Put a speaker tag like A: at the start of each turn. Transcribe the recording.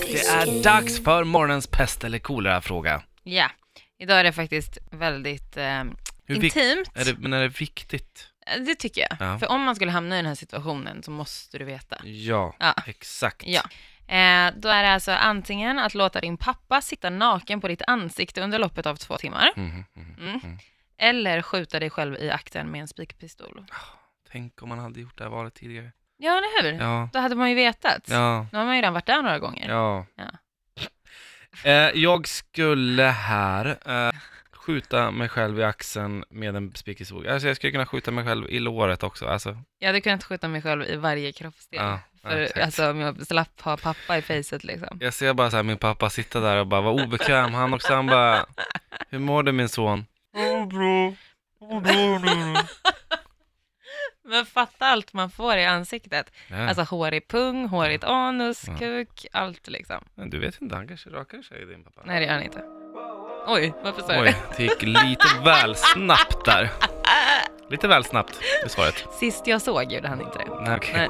A: Det är dags för morgonens pest eller kolera-fråga.
B: Ja, idag är det faktiskt väldigt eh,
A: Hur vik-
B: intimt.
A: Är det, men är det viktigt?
B: Eh, Det tycker jag.
A: Ja.
B: För om man skulle hamna i den här situationen så måste du veta.
A: Ja,
B: Ja.
A: exakt.
B: Ja. Eh, då är det alltså antingen att låta din pappa sitta naken på ditt ansikte under loppet av två timmar, mm,
A: Mhm, mhm.
B: eller skjuta dig själv i akten med en spikpistol.
A: Tänk om man hade gjort det här valet tidigare.
B: Ja, eller hur?
A: Ja,
B: Då hade man ju vetat.
A: ja,
B: Nu har man ju redan varit där några gånger.
A: ja.
B: Ja.
A: Eh, jag skulle här eh, skjuta mig själv i axeln med en spikesåg. Alltså jag skulle kunna skjuta mig själv i låret också. Alltså,
B: Jag hade kunnat skjuta mig själv i varje kroppsdel.
A: Ja,
B: för,
A: exakt.
B: alltså om jag slapp ha pappa i facet liksom.
A: jag ser bara så här min pappa sitta där och bara vara obekväm. Han också, han bara, hur mår du min son? Ja, bra. Ja, bra Oh, nu.
B: Men fatta allt man får i ansiktet.
A: Ja.
B: Alltså hårig pung, hårigt anus,
A: Ja.
B: kuk, allt liksom.
A: Men du vet inte, han kanske rakar sig din pappa.
B: Nej, det gör han inte. Oj, varför sa jag
A: Oj,
B: det?
A: det gick lite väl snabbt där. Lite väl snabbt i svaret.
B: Sist jag såg gjorde han inte det.
A: Nej, okej.
B: Nej.